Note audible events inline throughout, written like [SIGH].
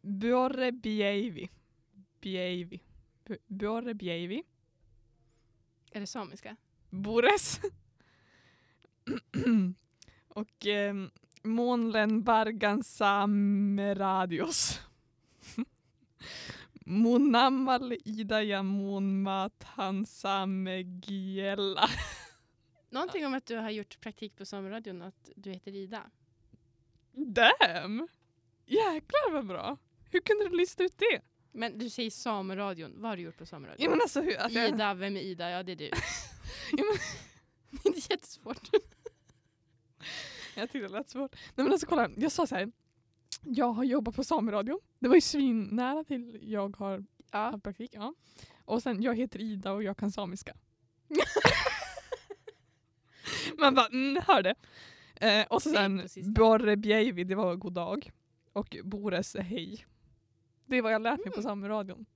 Björre Bjeivi. Bjeivi. B- Björre Bjeivi. Är det samiska? Bores. [CLEARS THROAT] Och eh, Månlen Bargan Sameradios. [LAUGHS] Monammal Idaja Monmatan Samegiella. Någonting om att du har gjort praktik på Sameradion och att du heter Ida. Damn! Jäklar vad bra! Hur kunde du lista ut det? Men du säger Sameradion. Vad har du gjort på Jag Sameradion? menar alltså hur... Att jag, Ida, vem är Ida? Ja, det är du. [LAUGHS] Ja, [LAUGHS] det [LAUGHS] är jättesvårt. Jag tyckte det lät svårt. Nej men alltså kolla, jag sa så här. Jag har jobbat på Sameradion. Det var ju svinnära till jag har haft praktik. Ja. Och sen, jag heter Ida och jag kan [LAUGHS] samiska. Man bara, mm, hör det. Eh, och så Det gick sen på sista. Borre Bjeivi, det var god dag. Och Bores, hej. Det är vad jag lärt mig på Sameradion.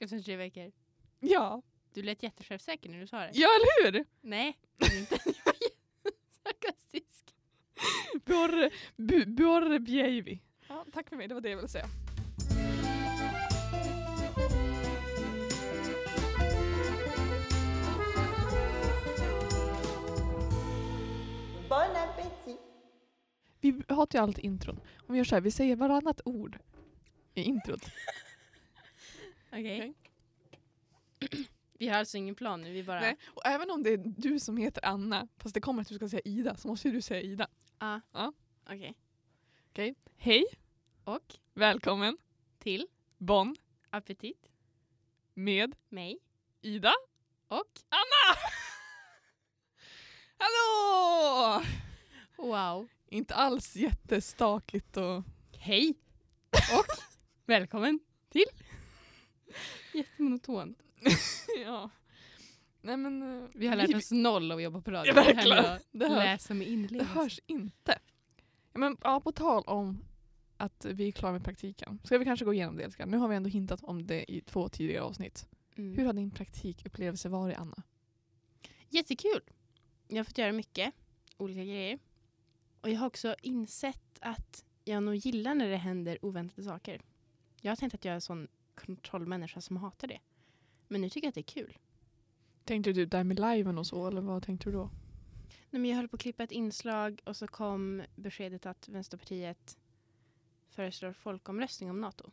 Efter tre veckor. Ja, Du lät jättesjälvsäker när du sa det. ja eller hur? [LAUGHS] Nej, det är inte. Du var jättesarkastisk. Borre, bu, borre Bjeivi. Ja, tack för mig, det var det jag ville säga. Bon appétit. Vi hatar ju allt intron. Om vi gör så här, vi säger varannat ord i introt. Okej. [CLEARS THROAT] Vi har alltså ingen plan nu, vi bara... Nej. Och även om det är du som heter Anna, fast det kommer att du ska säga Ida, så måste ju du säga Ida. Ah. Ja. Okej. Hej, Och välkommen, till Bonn, appetit, med mig Ida. och... [LAUGHS] Hallå! Wow. Inte alls jättestakligt och... Hej och [LAUGHS] välkommen till... Jättemonotont. [LAUGHS] ja. Nej men... eh, Vi har lärt oss noll av att jobba på radio. Ja, verkligen. Det här med Det att hörs. läsa med Det inlevelse. hörs inte. Ja, men, ja, på tal om att vi är klara med praktiken. Ska vi kanske gå igenom det? älskar? Nu har vi ändå hintat om det i två tidigare avsnitt. Mm. Hur har din praktikupplevelse varit Anna? Jättekul. Jag har fått göra mycket olika grejer. Och jag har också insett att jag nog gillar när det händer oväntade saker. Jag har tänkt att jag är en sån kontrollmänniska som hatar det. Men nu tycker jag att det är kul. Tänkte du där med liven och så eller vad tänkte du då? Nej, men jag höll på att klippa ett inslag och så kom beskedet att Vänsterpartiet föreslår folkomröstning om NATO.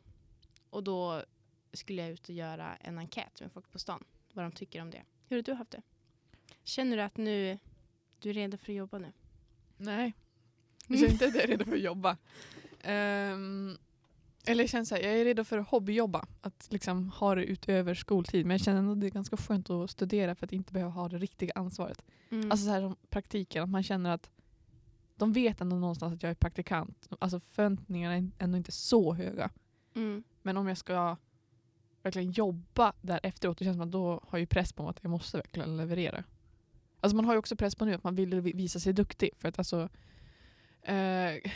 Och då skulle jag ut och göra en enkät med folk på stan. Vad de tycker om det. Hur har du haft det? Känner du att nu, du är redo för att jobba nu? Nej. Jag känner inte att jag är redo för att jobba. Ehm, eller jag känner så här, jag är redo för att hobbyjobba. Att liksom ha det utöver skoltid. Men jag känner ändå att det är ganska skönt att studera för att inte behöva ha det riktiga ansvaret. Mm. Alltså så här som praktiken, att man känner att de vet ändå någonstans att jag är praktikant. Alltså förväntningarna är ändå inte så höga. Mm. Men om jag ska verkligen jobba där efteråt, då känns det som att då har jag ju press på mig att jag måste verkligen leverera. Alltså man har ju också press på nu att man vill vi- visa sig duktig för att alltså eh,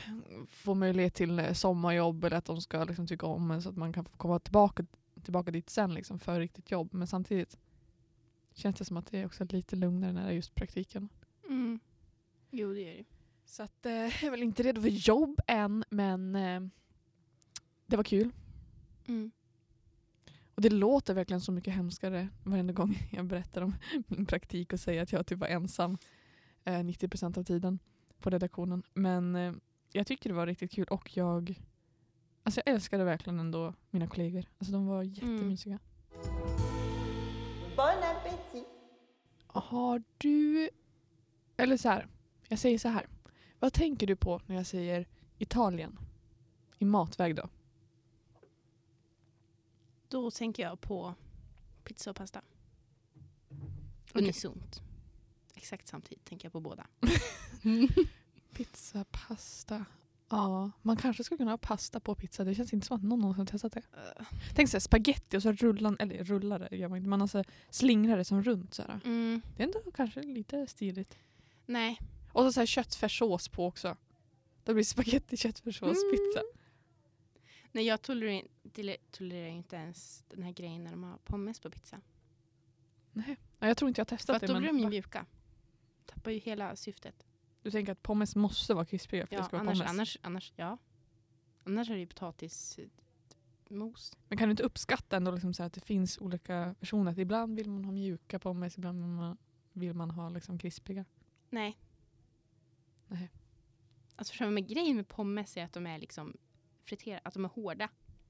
få möjlighet till eh, sommarjobb eller att de ska liksom tycka om en så att man kan få komma tillbaka, tillbaka dit sen liksom för riktigt jobb. Men samtidigt känns det som att det är också lite lugnare när det är just praktiken. Mm. Jo, det gör det. Så att, eh, jag är väl inte redo för jobb än men eh, det var kul. Mm. Och det låter verkligen så mycket hemskare varenda gång [LAUGHS] jag berättar om min praktik och säger att jag typ var ensam eh, 90% av tiden på redaktionen. Men eh, jag tyckte det var riktigt kul och jag, alltså jag älskade verkligen ändå mina kollegor. Alltså de var jättemysiga. Bon appétit. Har du, eller så här, jag säger så här. Vad tänker du på när jag säger Italien? I matväg då? Då tänker jag på pizza och pasta. Okej. Unisont. Exakt samtidigt tänker jag på båda. [LAUGHS] Pizza, pasta. Ja, man kanske skulle kunna ha pasta på pizza. Det känns inte som att någon någonsin har testat det. Tänk såhär spaghetti och så rullan, eller rullare gör man inte, man alltså slingrar det som runt såhär. Mm. Det är ändå kanske lite stiligt. Nej. Och så såhär köttfärssås på också. Då blir det spaghetti, köttfärssås, Mm. pizza. Nej, jag tolererar, tole- tolererar ju inte ens den här grejen när de har pommes på pizza. Ja, jag tror inte jag har För testat att då det blir de ju men mjuka. Tappar ju hela syftet. du tänker att pommes måste vara krispiga för att Ja, det ska vara annars, pommes? annars, annars, ja. Annars är det ju potatismos. Men kan du inte uppskatta ändå liksom så här att det finns olika versioner? Att ibland vill man ha mjuka pommes, ibland vill man- vill man ha liksom krispiga. Nej. Nej. Alltså själva med grejen med pommes är att de är liksom friterade, att de är hårda.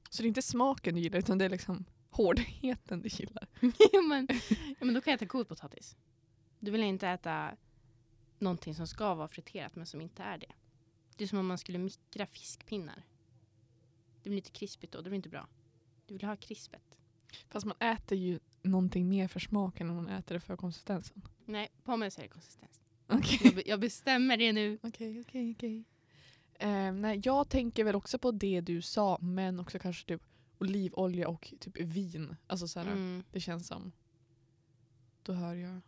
Så det är inte smaken du gillar utan det är liksom hårdheten du gillar. [LAUGHS] ja, men, ja, men då kan jag äta god potatis. Du vill inte äta någonting som ska vara friterat men som inte är det. Det är som om man skulle mikra fiskpinnar. Det blir lite krispigt då, det blir inte bra. Du vill ha krispet. Fast man äter ju någonting mer för smaken än man äter det för konsistensen. Nej, pommes är det konsistens. Okej, Jag, be- jag bestämmer det nu. [LAUGHS] okej, okej. okej. Eh, nej, jag tänker väl också på det du sa men också kanske typ olivolja och typ vin. Alltså så här, Mm. det känns som... Då hör jag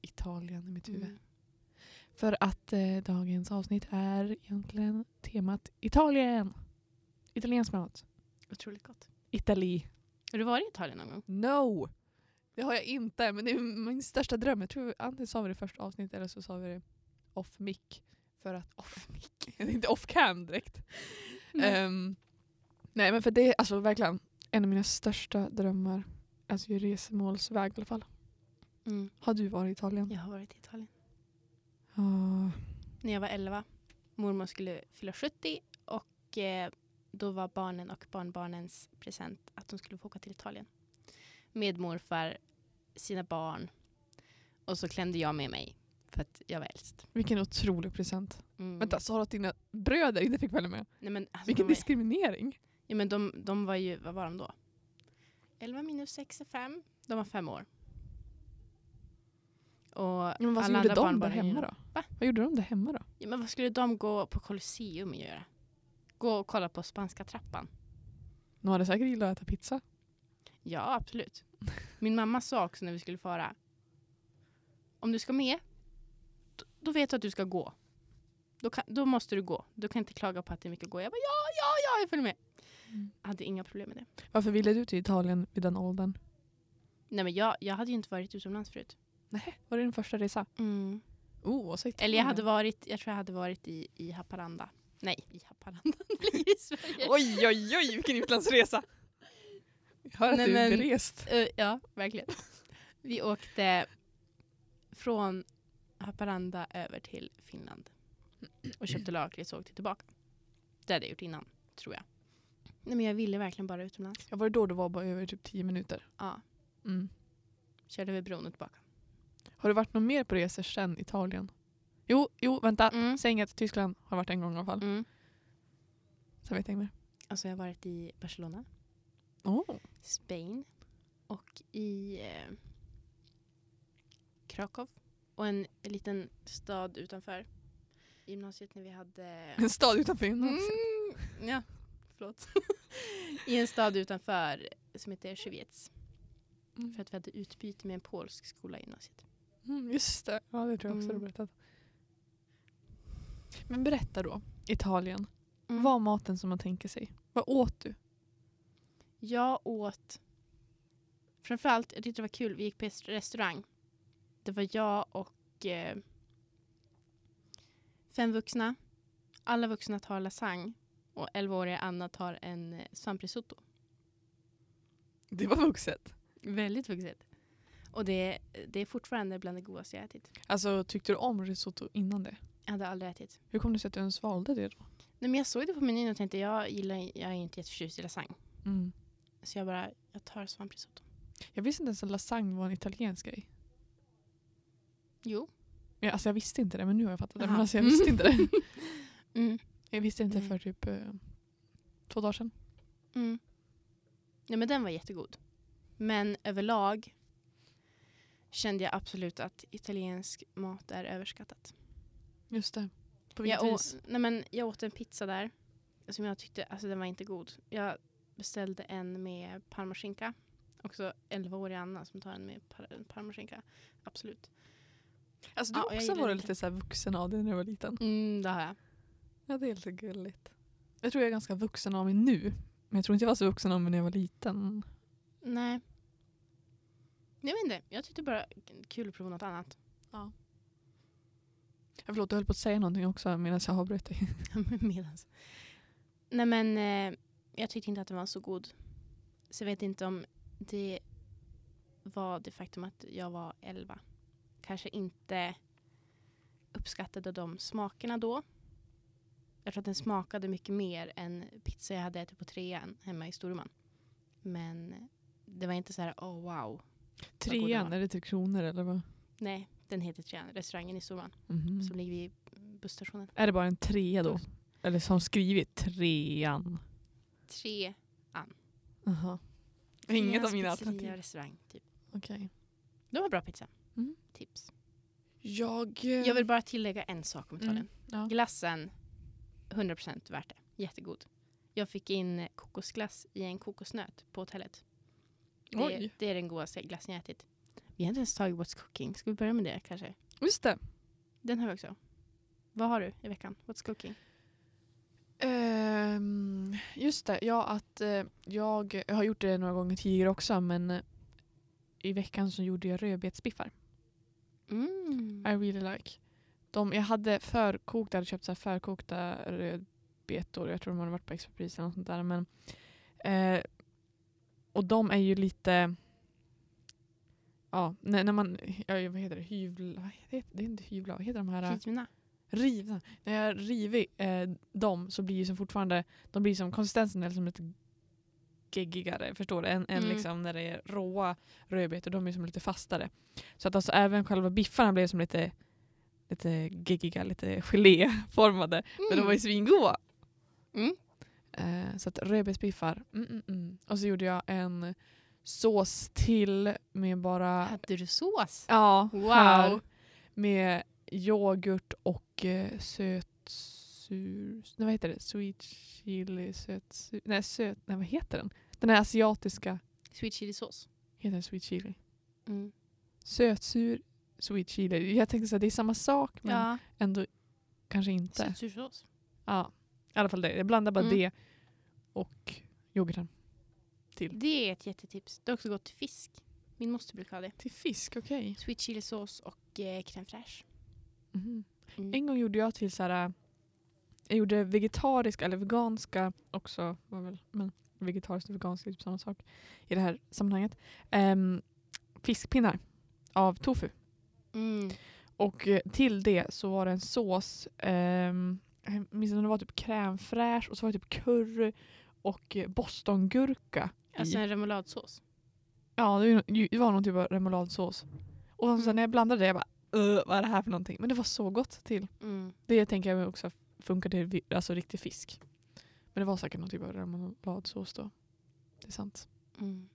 Italien i mitt huvud. Mm. För att eh, dagens avsnitt är egentligen temat Italien. Italiensk mat. Otroligt gott. Itali. Har du varit i Italien någon gång? No! Det har jag inte, men det är min största dröm. Jag tror antingen sa vi det i första avsnittet eller så sa vi det off mic. För att... Off [LAUGHS] mic? inte off cam direkt. Nej. Nej. nej men för det är alltså verkligen en av mina största drömmar. Alltså i resemålsväg i alla fall. Mm. Har du varit i Italien? Jag har varit i Italien. Ja. När jag var 11. Mormor skulle fylla 70 och eh, då var barnen och barnbarnens present att de skulle få åka till Italien. Med morfar, sina barn och så klämde jag med mig för att jag var äldst. vilken otrolig present. Mm. Vänta, sa du att dina bröder inte fick följa med? Nej, men, alltså, Vilken de, var, diskriminering! ja, men de, de var ju, vad var de då? 11 minus 6 är 5. De var fem år. Och Men vad alla gjorde andra de där barnbarnen hemma genom- då? Va? Vad gjorde de där hemma då? Ja, men vad skulle de gå på Colosseum och göra? Gå och kolla på Spanska trappan? De hade säkert gillat att äta pizza. Ja, absolut. Min mamma sa också när vi skulle fara. Om du ska med, d- då vet du att du ska gå. Då, kan, då måste du gå. Du kan inte klaga på att det är mycket att gå. Jag bara ja, ja, ja, jag följer med. Mm. Jag hade inga problem med det. Varför ville du till Italien vid den åldern? Nej, men jag, jag hade ju inte varit utomlands förut. Nej, var det din första resa? Oh, och så Italien. Eller jag hade varit, jag tror jag hade varit i, i Haparanda. Nej, i Haparanda. [LAUGHS] Det ligger i Sverige. Oj, oj, oj, vilken utlandsresa! Jag hör att Nej, du är men- berest. Eh, ja, verkligen. [LAUGHS] Vi åkte från Haparanda över till Finland och köpte lakrits och åkte tillbaka. Det hade jag gjort innan, tror jag. Nej, men jag ville verkligen bara utomlands. Jag var det då du var bara över typ tio minuter. Ja, Mm. körde över bron och tillbaka. Har du varit någon mer på resor sen Italien? Jo, jo, vänta. Mm. Säg inget. Tyskland har varit en gång i alla fall. Mm. Sen vet jag inget Alltså jag har varit i Barcelona, mer. Oh. Spain och i eh, Krakow och en liten stad utanför gymnasiet när vi hade En stad utanför Mm, gymnasiet. ja, förlåt. [LAUGHS] I en stad utanför som heter Schweiz. Mm. För att vi hade utbyte med en polsk skola i gymnasiet. Mm, just det. Ja, det tror jag också du Mm. berättat. Men berätta då, Italien. Mm. Vad var maten som man tänker sig? Vad åt du? Jag åt... Framförallt, jag tyckte det var kul, vi gick på rest- restaurang. Det var jag och eh, fem vuxna. Alla vuxna tar lasagne och 11-åriga Anna tar en eh, svamprisotto. Det var vuxet. Väldigt vuxet. Och det, det är fortfarande bland det godaste jag ätit. Alltså tyckte du om risotto innan det? Jag hade aldrig ätit. Hur kom det sig att du ens valde det då? Nej, men jag såg det på menyn och tänkte jag gillar jag är inte jätteförtjust i lasagne. Mm. Så jag bara, jag tar svamprisotto. Jag visste inte ens att lasagne var en italiensk grej. Jo. Ja, alltså jag visste inte det men nu har jag fattat det. Men Aha. alltså jag visste inte det. Mm. [LAUGHS] Jag visste inte Nej. för typ eh, två dagar sedan. Mm. Nej men den var jättegod. Men överlag kände jag absolut att italiensk mat är överskattat. Just det. På vilket Jag, å- vis? nej, men jag åt en pizza där som jag tyckte, alltså den var inte god. Jag beställde en med parmaskinka. Också 11-årig Anna som tar en med par- parmaskinka. Absolut. Alltså du Ja, har jag också gillar varit inte. lite så här vuxen av dig när du var liten. Mm, det har jag. Ja det är lite gulligt. Jag tror jag är ganska vuxen av mig nu. Men jag tror inte jag var så vuxen av mig när jag var liten. Nej. Jag vet inte. Jag tyckte bara kul att prova något annat. [LAUGHS] Jag förlåt, jag höll på att säga någonting också medan jag avbröt dig. Medans. Nej men eh, jag tyckte inte att den var så god. Så jag vet inte om det var det faktum att jag var 11. Kanske inte uppskattade de smakerna då. Jag tror att den smakade mycket mer än pizza jag hade ätit på trean hemma i Storuman. Men det var inte så här, oh wow. god den Trean, var. är det Tre Kronor eller vad? Nej, den heter Trean, restaurangen i Storuman Mhm. som ligger vid busstationen. Är det bara en trea då? Eller som skrivit trean? Tre Aha. Inget av Treans mina pizzeria alternativ. och restaurang, typ. Okej. De har bra pizza. Mm. Tips. Jag... eh, Jag vill bara tillägga en sak om Italien. Mm, ja. Glassen, 100% värt det. Jättegod. Jag fick in kokosglass i en kokosnöt på hotellet. Det, Oj. det är den godaste glassen jag ätit. Vi har inte ens tagit What's Cooking. Ska vi börja med det kanske? Just det. Den har vi också. Vad har du i veckan? What's Cooking? Ehm, just det, ja att eh, jag, jag har gjort det några gånger tidigare också men eh, i veckan så gjorde jag rödbetsbiffar. Mm. I really like. De, jag hade förkokta, jag hade köpt så här förkokta rödbetor. Jag tror de hade varit på extrapris eller något sånt där. Men, eh, och de är ju lite... Ja, när, när man... Ja, vad heter det? Hyvla? vad heter- Det är inte hyvla. Vad heter de här? Rivna. rivna. När jag har rivit eh, dem så blir ju som fortfarande, de blir som konsistensen är som lite geggigare, förstår du? Än, än Mm. liksom när det är råa rödbetor, de är som lite fastare. Så att alltså även själva biffarna blev som lite, lite geggiga, lite geléformade. Men de var ju svingoda. Mm. Eh, så att rödbetsbiffar. Mm, mm, mm. Och så gjorde jag en sås till med bara... Hade du sås? Ja, Wow. här. Med yoghurt och eh, sötsur... Nej, vad heter det? Sweet chili sötsur... Nej, söt... Nej, vad heter den? Den här asiatiska Sweet chili sås. heter den sweet chili. Mm. Sötsur, sweet chili. Jag tänkte att det är samma sak men Ja, ändå kanske inte. sötsursås. Ja, i alla fall det. Jag blandar bara Mm. det och yoghurten. Det är ett jättetips. Det har också gått till fisk. Min moster brukar ha det. Till fisk, okej. Sweet chili sås och eh, crème fraîche. Mhm. Mm. En gång gjorde jag till så här. äh, Jag gjorde vegetariska eller veganska också. Var väl, men vegetariskt och veganskt är typ samma sak i det här sammanhanget. Ehm, fiskpinnar av tofu. Mm. Och eh, till det så var det en sås. ehm, jag minns inte om det var typ crème fraîche och så var det typ curry och eh, bostongurka. Alltså en remouladsås. Ja, det var ju- det var någon typ av remouladsås. Och sen så när jag blandade det, jag bara "Ugh, vad är det här för någonting? Men det var så gott till. Mm. Det tänker jag också funkar till vi- alltså riktig fisk. Men det var säkert någon typ av remouladsås då. Det är sant. Mm.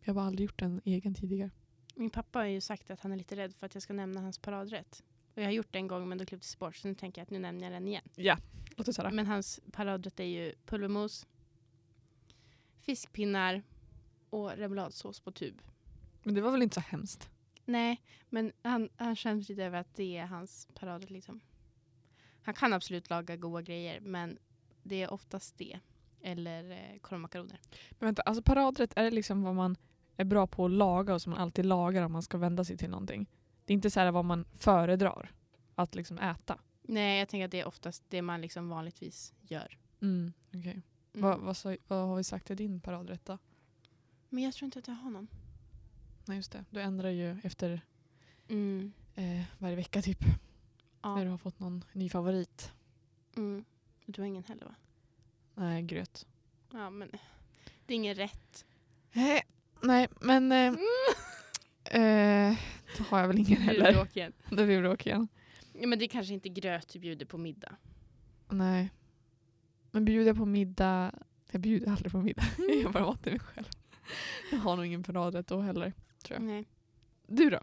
Jag har bara aldrig gjort en egen tidigare. Min pappa har ju sagt att han är lite rädd för att jag ska nämna hans paradrätt. Och jag har gjort det en gång men då klipptes det bort så nu tänker jag att nu nämner jag den igen. Låter sådär. Men hans paradrätt är ju pulvermos, fiskpinnar och remouladsås på tub. Men det var väl inte så hemskt? Nej, men han, han skäms lite över att det är hans paradrätt liksom. Han kan absolut laga goda grejer men det är oftast det. Eller eh, korvmakaroner. Men vänta, alltså paradrätt, är det liksom vad man är bra på att laga och som man alltid lagar om man ska vända sig till någonting? Det är inte så här vad man föredrar att liksom äta? Nej, jag tänker att det är oftast det man liksom vanligtvis gör. Mm, okej. Mm. Vad, vad, sa- vad har vi sagt är din paradrätt då? Men jag tror inte att jag har någon. Nej just det, du ändrar ju efter Mm. eh, varje vecka typ. Ja. När du har fått någon ny favorit. Mm. Du har ingen heller va? Nej, gröt. Ja men [LAUGHS] det är ingen rätt. Nej, nej men eh, eh, då har jag väl ingen heller. Bråk igen. [LAUGHS] Då blir det bråk igen. Ja, men det är kanske inte gröt du bjuder på middag. Nej. Men bjuder jag på middag, jag bjuder aldrig på middag. [LAUGHS] Jag gör bara mat till mig själv. Jag har nog ingen paradrätt då heller. Ja. Nej. Du då?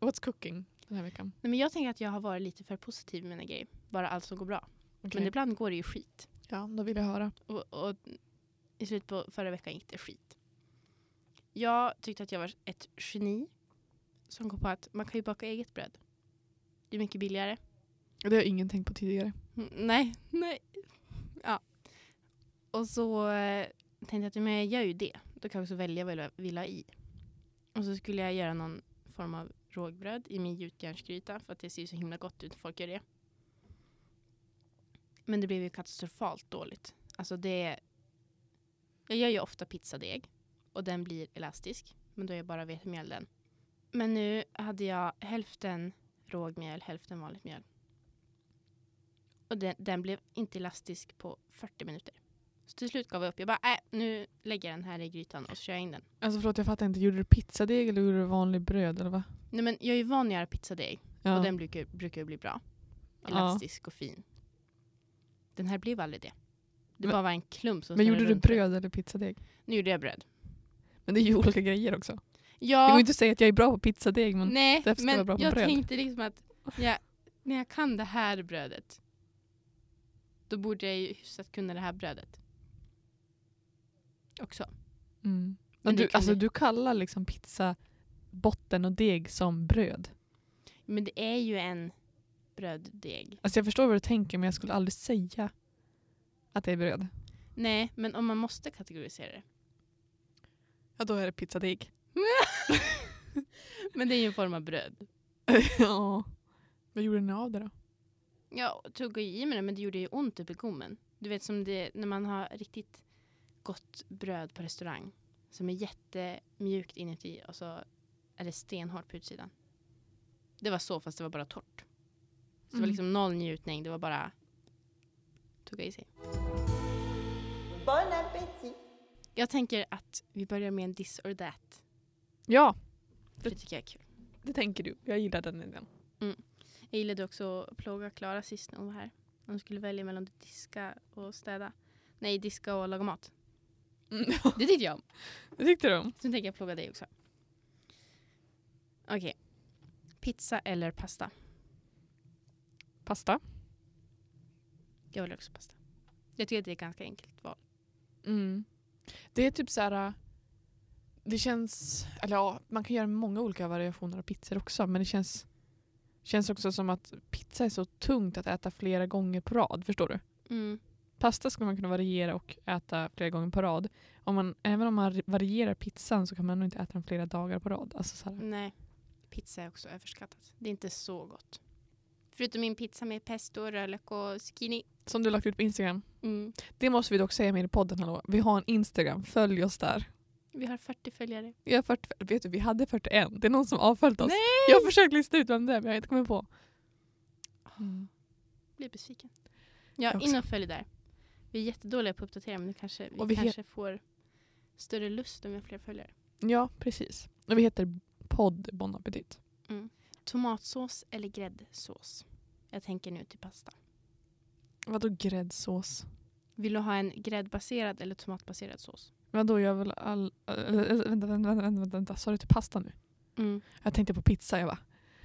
What's cooking den här veckan? Nej men jag tänker att jag har varit lite för positiv med mina grejer. Bara allt som går bra. Men ibland går det ju skit. Ja, då vill jag höra. Och, och i slutet på förra veckan gick det skit. Jag tyckte att jag var ett geni som kom på att man kan ju baka eget bröd. Det är mycket billigare. Det har jag ingen tänkt på tidigare. Mm, Nej, nej. Ja. Och så eh, tänkte jag att men jag gör ju det. Då kan jag också välja vad jag vill ha i. Och så skulle jag göra någon form av rågbröd i min gjutjärnsgryta för att det ser ju så himla gott ut när folk gör det. Men det blev ju katastrofalt dåligt. Alltså det... Jag gör ju ofta pizzadeg och den blir elastisk. Men då är jag bara vetemjöl den. Men nu hade jag hälften rågmjöl, hälften vanligt mjöl. Och den, den blev inte elastisk på 40 minuter. Så till slut gav jag upp. Jag bara, äh, nu lägger jag den här i grytan och så kör jag in den. Alltså förlåt jag fattar inte, gjorde du pizzadeg eller gjorde du vanlig bröd eller vad? Nej men jag är ju van att göra pizzadeg. Ja. Och den brukar, brukar ju bli bra. Ja. Elastisk och fin. Den här blev aldrig det. Det Men- bara var en klump som Men snurrade gjorde du runt. bröd eller pizzadeg? Nu gjorde jag bröd. Men det är ju olika grejer också. Det Ja, går ju inte att säga att jag är bra på pizzadeg men nej, därför ska det vara men bra på jag bröd. tänkte liksom att jag, när jag kan det här brödet då borde jag ju hyfsat kunna det här brödet. Också. Mm. Men Men det du, kan alltså, du- du kallar liksom pizza botten och deg som bröd. Men det är ju en bröddeg. Alltså jag förstår vad du tänker men jag skulle aldrig säga att det är bröd. Nej, men om man måste kategorisera det. Ja då är det pizzadeg. Men det är ju en form av bröd. [LAUGHS] ja. Vad gjorde ni av det då? Ja, och tugga i mig det, men det gjorde ju ont upp i gommen. Du vet som det, när man har riktigt gott bröd på restaurang som är jättemjukt inuti och så är det stenhårt på utsidan. Det var så, fast det var bara torrt. Så Det var Mm. liksom noll njutning, det var bara tugga i sig. Bon appétit. Jag tänker att vi börjar med en this or that, Ja, för det tycker jag är kul. det tänker du. Jag gillar den idén. Jag gillade också att plåga Klara sist när hon var här. Hon skulle välja mellan att diska och städa. Nej, diska och laga mat. Det tyckte jag Mm. om. [LAUGHS] Det tyckte du om? Så nu tänker jag plåga dig också. Okej. Pizza eller pasta? Pasta. Jag vill också pasta. Jag tycker att det är ett ganska enkelt val. Mm. Det är typ så här. Det känns, eller ja, man kan göra många olika variationer av pizzor också men det känns, känns också som att pizza är så tungt att äta flera gånger på rad. Förstår du? Pasta skulle man kunna variera och äta flera gånger på rad. Om man, även om man varierar pizzan så kan man nog inte äta den flera dagar på rad. Alltså så här. Nej. Pizza är också överskattat. Det är inte så gott. Förutom min pizza med pesto, rödlök och zucchini. Som du lagt ut på Instagram. Mm. Det måste vi dock säga mer i podden. Hallå. Vi har en Instagram, följ oss där. Vi har 40 följare. Vi, har 40, vet du, vi hade 41, det är någon som avföljt oss. Jag har försökt lista ut vem det är men jag har inte kommit på. Mm. Blir besviken. Ja, Jag också. in och följ där. Vi är jättedåliga på att uppdatera men nu kanske, vi, Och vi he- kanske får större lust om vi har fler följare. Ja, precis. Och vi heter podd Bon Appetit. Tomatsås eller gräddsås? Jag tänker nu till pasta. Vadå gräddsås? Vill du ha en gräddbaserad eller tomatbaserad sås? Vadå, jag vill all... äh, äh, Vänta, vänta, vänta, vänta, vänta. sa du till pasta nu? Mm. [LAUGHS] Jag tänkte på pizza, jag bara.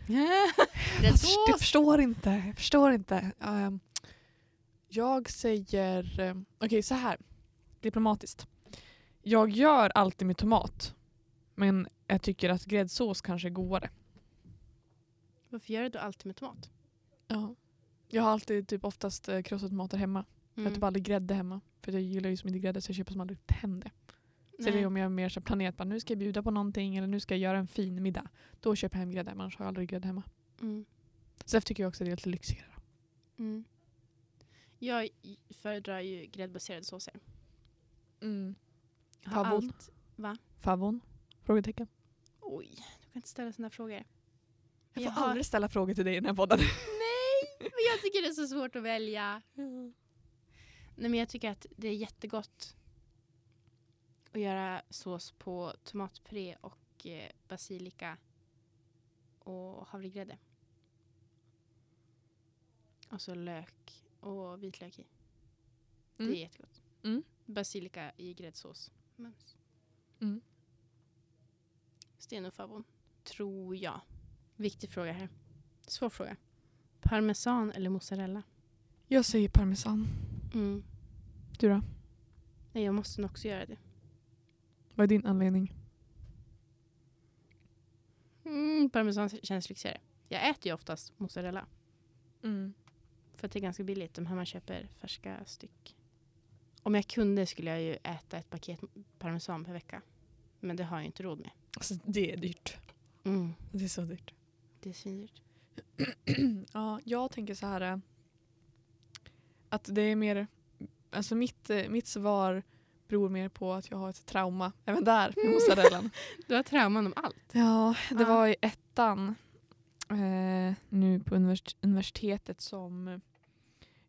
Jag förstår, jag Gräddsås! förstår inte. Jag förstår inte. Ehm, jag säger... ehm, Okej, så här. Diplomatiskt. Jag gör alltid med tomat. Men jag tycker att gräddsås kanske är godare. Varför gör du då alltid med tomat? Ja. Jag har alltid typ oftast eh, krossade tomater hemma. Jag har Mm. typ aldrig grädde hemma. För jag gillar ju som inte grädde så jag köper som aldrig hem det. Så det är om jag är mer så här planerat, bara, nu ska jag bjuda på någonting eller nu ska jag göra en fin middag. Då köper jag hem grädde, men annars har jag aldrig grädde hemma. Mm. Så därför tycker jag också att det är lite lyxigare. Mm. Jag i- föredrar ju gräddbaserade såser. Mm. Jag har Favvon? allt- Va? Favon? Frågetecken. Oj, du kan inte ställa sådana frågor. Jag får Jag har- aldrig ställa frågor till dig i den här [LAUGHS] podden. Nej, men jag tycker det är så svårt att välja. Nej, men jag tycker att det är jättegott att göra sås på tomatpuré och eh, basilika och havregrädde. Och så lök och vitlök i. Mm. Det är jättegott. Mm. Basilika i gräddsås. Mums. Mm. Sten och favon, tror jag. Viktig fråga här. Svår fråga. Parmesan eller mozzarella? [LAUGHS] Jag säger parmesan. Mm. Du då? Nej, jag måste nog också göra det. Vad är din anledning? Mm, parmesan känns lyxigare. Jag äter ju oftast mozzarella. Mm. För att det är ganska billigt. De här man köper färska styck. Om jag kunde skulle jag ju äta ett paket parmesan per vecka. Men det har jag ju inte råd med. Alltså, det är dyrt. Det är så dyrt. Det är svindyrt. ja, jag tänker så här. eh, Att det är mer alltså mitt, eh, mitt svar beror mer på att jag har ett trauma även där [LAUGHS] med mozzarellan. Du har trauman om allt. Ja, det Ja. var i ettan eh, nu på univers- universitetet som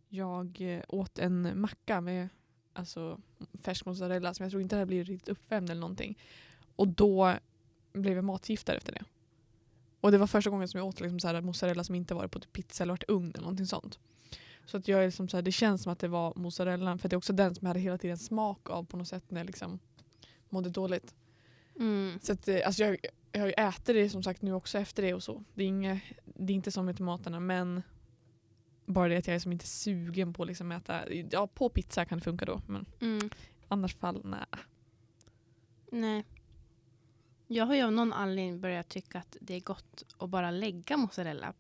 jag eh, åt en macka med alltså, färsk mozzarella som jag tror inte hade blivit riktigt uppvärmd eller någonting. Och då blev jag matgiftare efter det. Och det var första gången som jag åt liksom så här mozzarella som inte varit på typ pizza eller varit i ugn eller någonting sånt. Så att jag är liksom så här, det känns som att det var mozzarellan för det är också den som jag hade hela tiden smak av på något sätt när jag liksom mådde dåligt. Mm. Så att, eh, alltså jag, jag har ju ätit det som sagt nu också efter det och så. Det är, inga, det är inte som med tomaterna men bara det att jag är som inte sugen på att liksom äta. Ja på pizza kan det funka då men Mm. annars fall nej. Nej. Jag har ju av någon anledning börjat tycka att det är gott att bara lägga mozzarella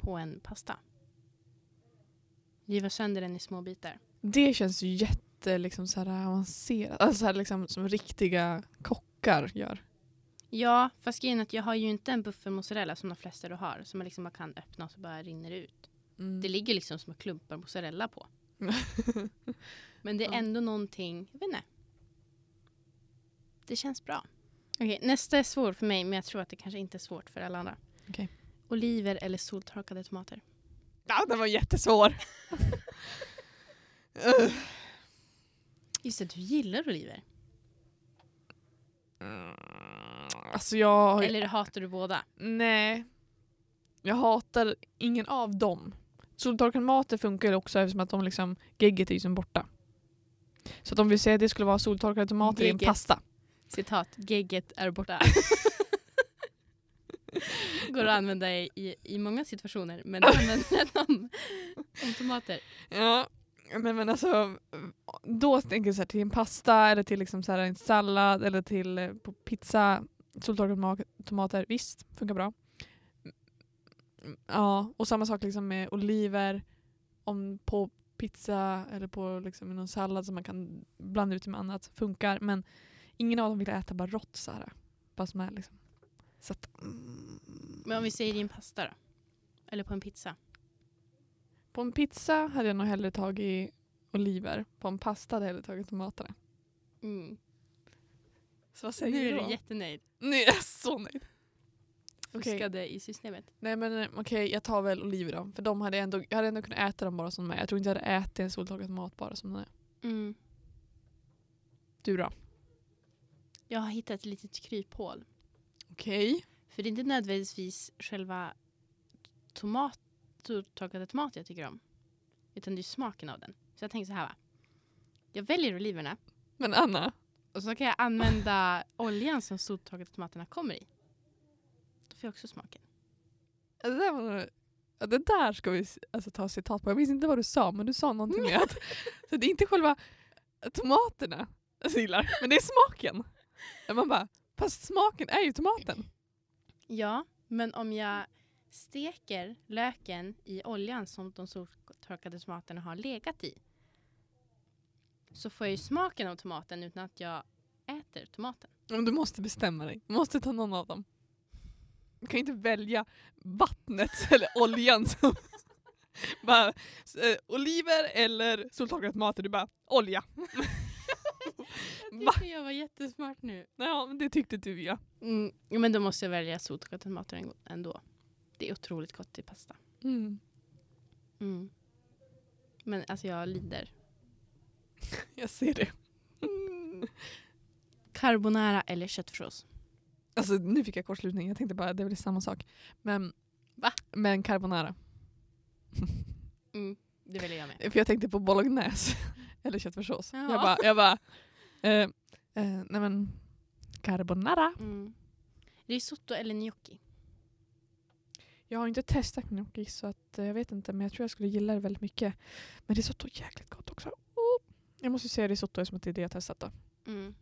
på en pasta. Riva sönder den i små bitar. Det känns ju jätte liksom så här avancerat. Alltså så här liksom som riktiga kockar gör. Ja, fast grejen är att jag har ju inte en buffelmozzarella som de flesta du har. Som man liksom bara kan öppna och så bara rinner det ut. Mm. Det ligger liksom små klumpar mozzarella [LAUGHS] på. Men det är Ja. ändå någonting, jag vet inte. Det känns bra. Okej, nästa är svår för mig men jag tror att det kanske inte är svårt för alla andra. Okej. Oliver eller soltorkade tomater? Ja, den var jättesvår. Just det, du gillar oliver. Mm. Alltså jag har ju Eller hatar du båda? Nej. Jag hatar ingen av dem. Soltorkade tomater funkar ju också eftersom att de liksom, gegget är ju som borta. Så att om vi säger att det skulle vara soltorkade tomater i en Gegget. pasta. Citat, gegget är borta. [LAUGHS] Går att använda i, i, i många situationer [LAUGHS] men använder den om, om tomater. Ja. Men, men alltså, då tänker jag så här, till en pasta eller till liksom så här en sallad eller till eh, på pizza. Soltorkade toma- tomater, visst, funkar bra. Mm, Ja, och samma sak liksom med oliver. Om på pizza eller på liksom i någon sallad som man kan blanda ut med annat funkar. Men ingen av dem vill äta bara rått så här. Bara som är liksom. Så att, mm. Men om vi säger i en pasta då? Eller på en pizza? På en pizza hade jag nog hellre tagit oliver. På en pasta hade jag hellre tagit tomaterna. Mm. Så vad Nu du är då? du jättenöjd. Nu är jag så nöjd. Okej. Fuskade i systemet. Nej men eh, okej, jag tar väl oliver då. För de hade jag ändå, jag hade ändå kunnat äta dem bara som de är. Jag tror inte jag hade ätit en soltorkad mat bara som den är. Mm. Du då? Jag har hittat ett litet kryphål. Okej. För det är inte nödvändigtvis själva tomat, torkade tomat jag tycker om. Utan det är smaken av den. Så jag tänker så här va. Jag väljer oliverna Men Anna, och så kan jag [LAUGHS] använda oljan som soltorkade tomaterna kommer i. Då får jag också smaken. det där, var, nog- ja, det där ska vi s- alltså, ta citat på. Jag minns inte vad du sa men du sa någonting med [LAUGHS] att så det är inte själva tomaterna jag gillar men det är [LAUGHS] smaken. Där Man bara, fast smaken är ju tomaten. Ja, men om jag steker löken i oljan som de soltorkade tomaterna har legat i så får jag ju smaken av tomaten utan att jag äter tomaten. Men du måste bestämma dig. Du måste ta någon av dem. Du kan inte välja vattnet [LAUGHS] eller oljan som... [LAUGHS] bara, eh, oliver eller soltorkade tomater. Du bara olja. Jag tyckte jag var jättesmart nu. Ja, men det tyckte du ja. Mm, ja, men då måste jag välja soltorkade tomater en- ändå. Det är otroligt gott i pasta. Mm, Mm. Men alltså jag lider. Jag ser det. Mm. Carbonara eller köttfärssås? Alltså nu fick jag kortslutning. Jag tänkte bara det är väl samma sak. Men, Va? men carbonara. [LAUGHS] Mm, Det väljer jag med. För jag tänkte på bolognese [LAUGHS] eller köttfärssås. Ja. Jag bara, jag bara eh, eh, nej men carbonara. Mm. Risotto eller gnocchi? Jag har inte testat gnocchi så att, eh, jag vet inte men jag tror jag skulle gilla det väldigt mycket. Men risotto är jäkligt gott också. Oh! Jag måste ju säga risotto eftersom att det är det jag har testat då. Mm.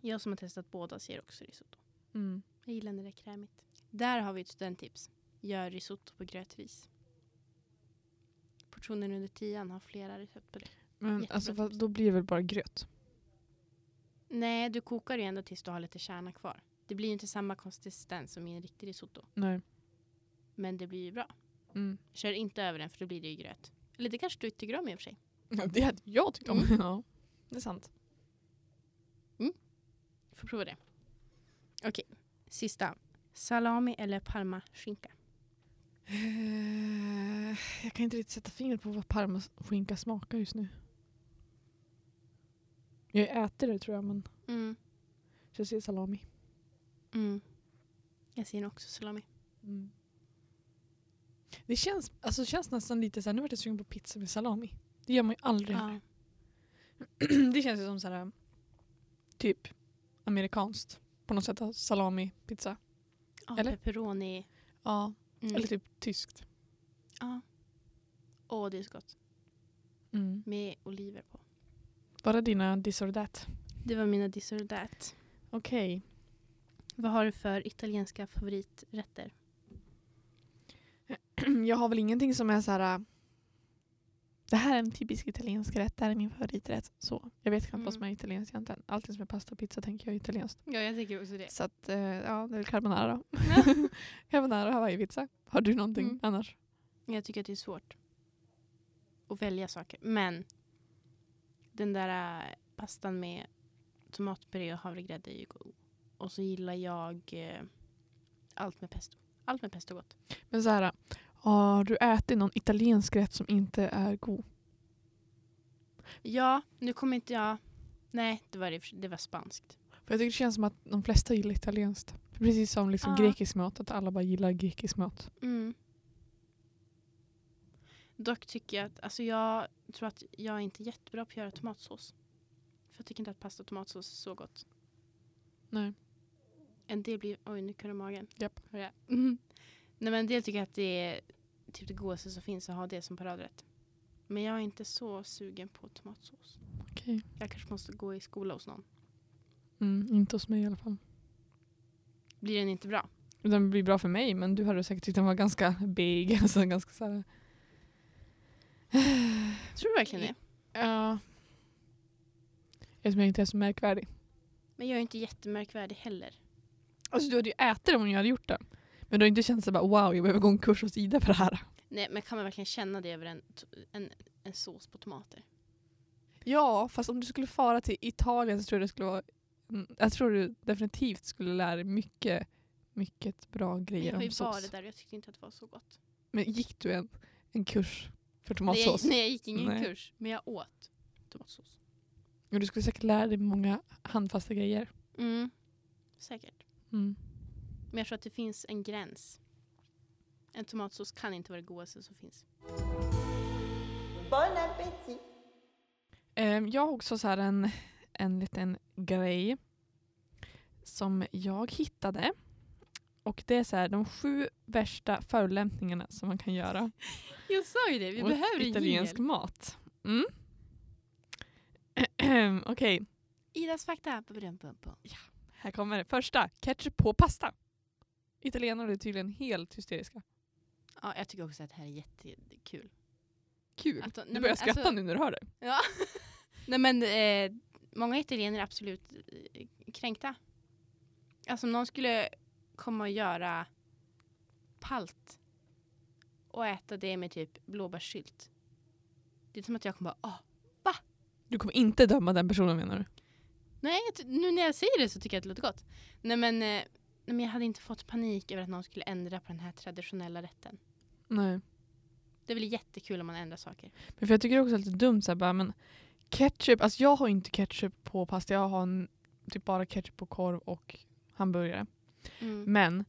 Jag som har testat båda säger också risotto. Mm. Jag gillar när det är krämigt. Där har vi ett studenttips. Gör risotto på grötris. Portionen under tian har flera recept på det. Men Jättebra alltså, vad- tips. då blir det väl bara gröt? Nej, du kokar ju ändå tills du har lite kärna kvar. Det blir ju inte samma konsistens som i en riktig risotto. Nej. Men det blir ju bra. Mm. Kör inte över den för då blir det ju gröt. Eller det kanske du tycker om i och för sig. Det hade jag tyckt om. [LAUGHS] Ja, det är sant. Får prova det. Okej, sista. Salami eller parmaskinka? Eh, jag kan inte riktigt sätta fingret på vad parmaskinka smakar just nu. Jag äter det tror jag, men Mm. jag ser salami. Mm. Jag ser nog också salami. Mm. Det känns, alltså, det känns nästan lite så här, nu vart jag sugen på pizza med salami. Det gör man ju aldrig här. Ja. [CLEARS THROAT] Det känns ju som så här, typ amerikanskt. På något sätt, salami, pizza. Ja, Eller? pepperoni. Ja. Mm. Eller typ tyskt. Ja. Åh, det är så gott. Mm. Med oliver på. Bara dina this or that. Det var mina this or that. Okej. Vad har du för italienska favoriträtter? [CLEARS THROAT] Jag har väl ingenting som är så här. äh, Det här är en typisk italiensk rätt, det här är min favoriträtt. Så. Jag vet knappt vad som är Mm. italienskt egentligen. Allting som är pasta och pizza tänker jag är italienskt. Ja, jag tänker också det. Så att, eh, ja, det är väl carbonara då. [LAUGHS] carbonara och hawaiipizza. Har du någonting Mm. annars? Jag tycker att det är svårt att välja saker. Men den där eh, pastan med tomatpuré och havregrädde är ju god. Och så gillar jag eh, allt med pesto. Allt med pesto är gott. Men så här, äh, har du ätit någon italiensk rätt som inte är god? Ja, nu kommer inte jag... Nej, det var, det, i och för sig- det var spanskt. För jag tycker det känns som att de flesta gillar italienskt. Precis som liksom Ja. grekisk mat, att alla bara gillar grekisk mat. Mm. Dock tycker jag att... Alltså jag tror att jag är inte jättebra på att göra tomatsås. För jag tycker inte att pasta och tomatsås är så gott. Nej. En del blir... Oj, nu kurrar magen. Japp. Hör jag? Mm. Nej, men en del tycker att det är typ det godaste som finns att ha det som paradrätt. Men jag är inte så sugen på tomatsås. Okej. Jag kanske måste gå i skola hos någon. Mm, inte hos mig i alla fall. Blir den inte bra? Den blir bra för mig men du hade säkert tyckt den var ganska big. [LAUGHS] Alltså ganska så här, Tror du verkligen det? ja. Eftersom jag inte är så märkvärdig. Men jag är inte jättemärkvärdig heller. Alltså du hade ju ätit den om jag hade gjort det. Men du har inte känt så här bara wow jag behöver gå en kurs hos Ida för det här. Nej, men kan man verkligen känna det över en, t- en, en sås på tomater? Ja fast om du skulle fara till Italien så tror jag det skulle vara mm, jag tror du definitivt skulle lära dig mycket, mycket bra Men grejer jag har ju om varit sås. där och jag tyckte inte att det var så gott. Men gick du en, en kurs för Nej, jag, tomatsås? nej, jag gick ingen Nej. kurs, men jag åt tomatsås. Och du skulle säkert lära dig många handfasta grejer. Mm, säkert. Mm. Men jag tror att det finns en gräns. En tomatsås kan inte vara det godaste som finns. Bon appétit Ehm, Jag har också så här en, en liten grej som jag hittade. Och det är så här, de sju värsta förolämpningarna som man kan göra Jag sa ju det, vi mot behöver en italiensk jingel. mat. Mm. [CLEARS THROAT] Okej, Idas fakta. Bum, bum, bum. här kommer det. Första, ketchup på pasta. Italienare är tydligen helt hysteriska. Ja, jag tycker också att det här är jättekul. Kul. Att de- nej, du men börjar skratta alltså- nu när du hör det. Ja. [LAUGHS] Nej men eh, många italienare är absolut eh, kränkta. Alltså om någon skulle komma och göra palt och äta det med typ blåbärssylt. Det är som att jag kommer bara, ah. Du kommer inte döma den personen menar du? Nej, jag ty- nu när jag säger det så tycker jag att det låter gott. Nej men, eh, nej men jag hade inte fått panik över att någon skulle ändra på den här traditionella rätten. Nej. Det är väl jättekul om man ändrar saker. Men för jag tycker det också är lite dumt så här, bara, men ketchup, alltså jag har inte ketchup på pasta, jag har en, typ bara ketchup på korv och hamburgare. Mm. Men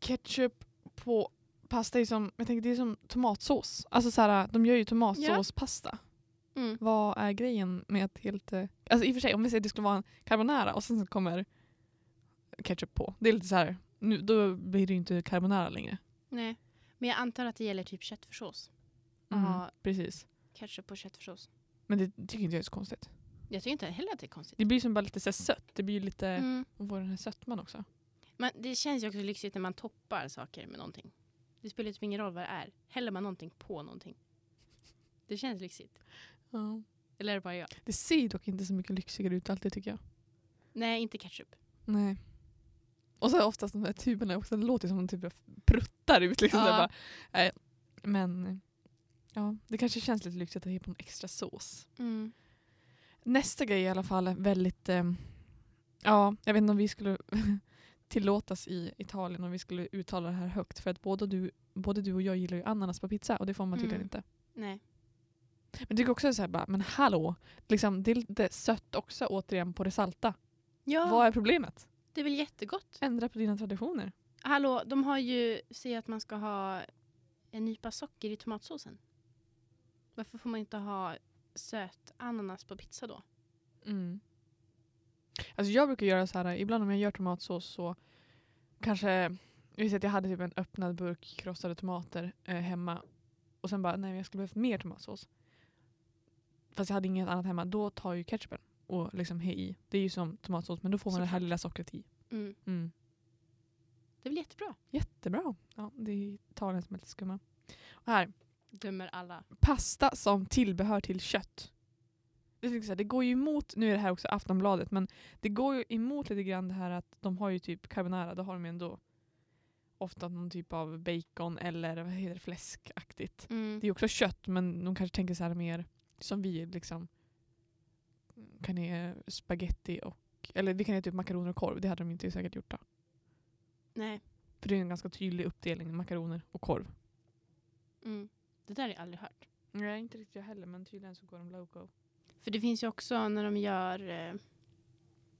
ketchup på pasta är som, jag tänker det är som tomatsås. Alltså så här, de gör ju tomatsåspasta. Mm. Vad är grejen med att helt, eh, alltså i och för sig om vi säger att det skulle vara en carbonara och sen så kommer ketchup på. Det är lite så här, nu, då blir det ju inte carbonara längre. Nej. Men jag antar att det gäller typ köttfärssås. Mhm, Mm. Ja. Precis. Ketchup på köttfärssås. Men det tycker inte jag är så konstigt. Jag tycker inte heller att det är konstigt. Det blir som bara lite så här sött, det blir ju lite Mm. Och får den här sötman också. Men det känns ju också lyxigt när man toppar saker med någonting. Det spelar typ ingen roll vad det är. Häller man någonting på någonting. Det känns lyxigt. Eller är det bara jag? Det ser dock inte så mycket lyxigare ut alltid tycker jag. Nej, inte ketchup. Nej. Och så oftast de där tuberna också, det låter som de typ pruttar ut. Liksom, Ja. så här bara, nej. Men eh, Ja, det kanske känns lite lyxigt att ge på en extra sås. Mm. Nästa grej är i alla fall en väldigt... ehm, ja, jag vet inte om vi skulle [LAUGHS] tillåtas i Italien om vi skulle uttala det här högt. För att både du, både du och jag gillar ju ananas på pizza och det får man tydligen Mm. inte. Nej. Men jag tycker också så här bara, men hallå! Liksom, det är lite sött också återigen på det salta. Ja, Vad är problemet? det är väl jättegott. Ändra på dina traditioner. Hallå, de har ju säger att man ska ha en nypa socker i tomatsåsen. Varför får man inte ha söt ananas på pizza då? Mm. Alltså jag brukar göra så här, ibland om jag gör tomatsås så kanske, jag vet att jag hade typ en öppnad burk krossade tomater eh, hemma och sen bara, nej men jag skulle behövt mer tomatsås. Fast jag hade inget annat hemma, då tar ju ketchupen och liksom he i. Det är ju som tomatsås men då får man det här Såklart. lilla sockret i. Mm. Mm. Det är väl jättebra? Jättebra. Ja, det är Italien som är lite skumma. Och här, Dömer alla. pasta som tillbehör till kött. Det, är liksom så här, det går ju emot, nu är det här också Aftonbladet, men det går ju emot lite grann det här att de har ju typ carbonara, då har de ju ändå ofta någon typ av bacon eller vad heter det, fläskaktigt. Mm. Det är ju också kött men de kanske tänker så här mer som vi liksom Mm, kan ge spaghetti och eller vi kan ge typ makaroner och korv, det hade de inte säkert gjort då. Nej. För det är en ganska tydlig uppdelning, makaroner och korv. Mm. Det där har jag aldrig hört. Nej, inte riktigt jag heller men tydligen så går de loco. För det finns ju också när de gör, eh,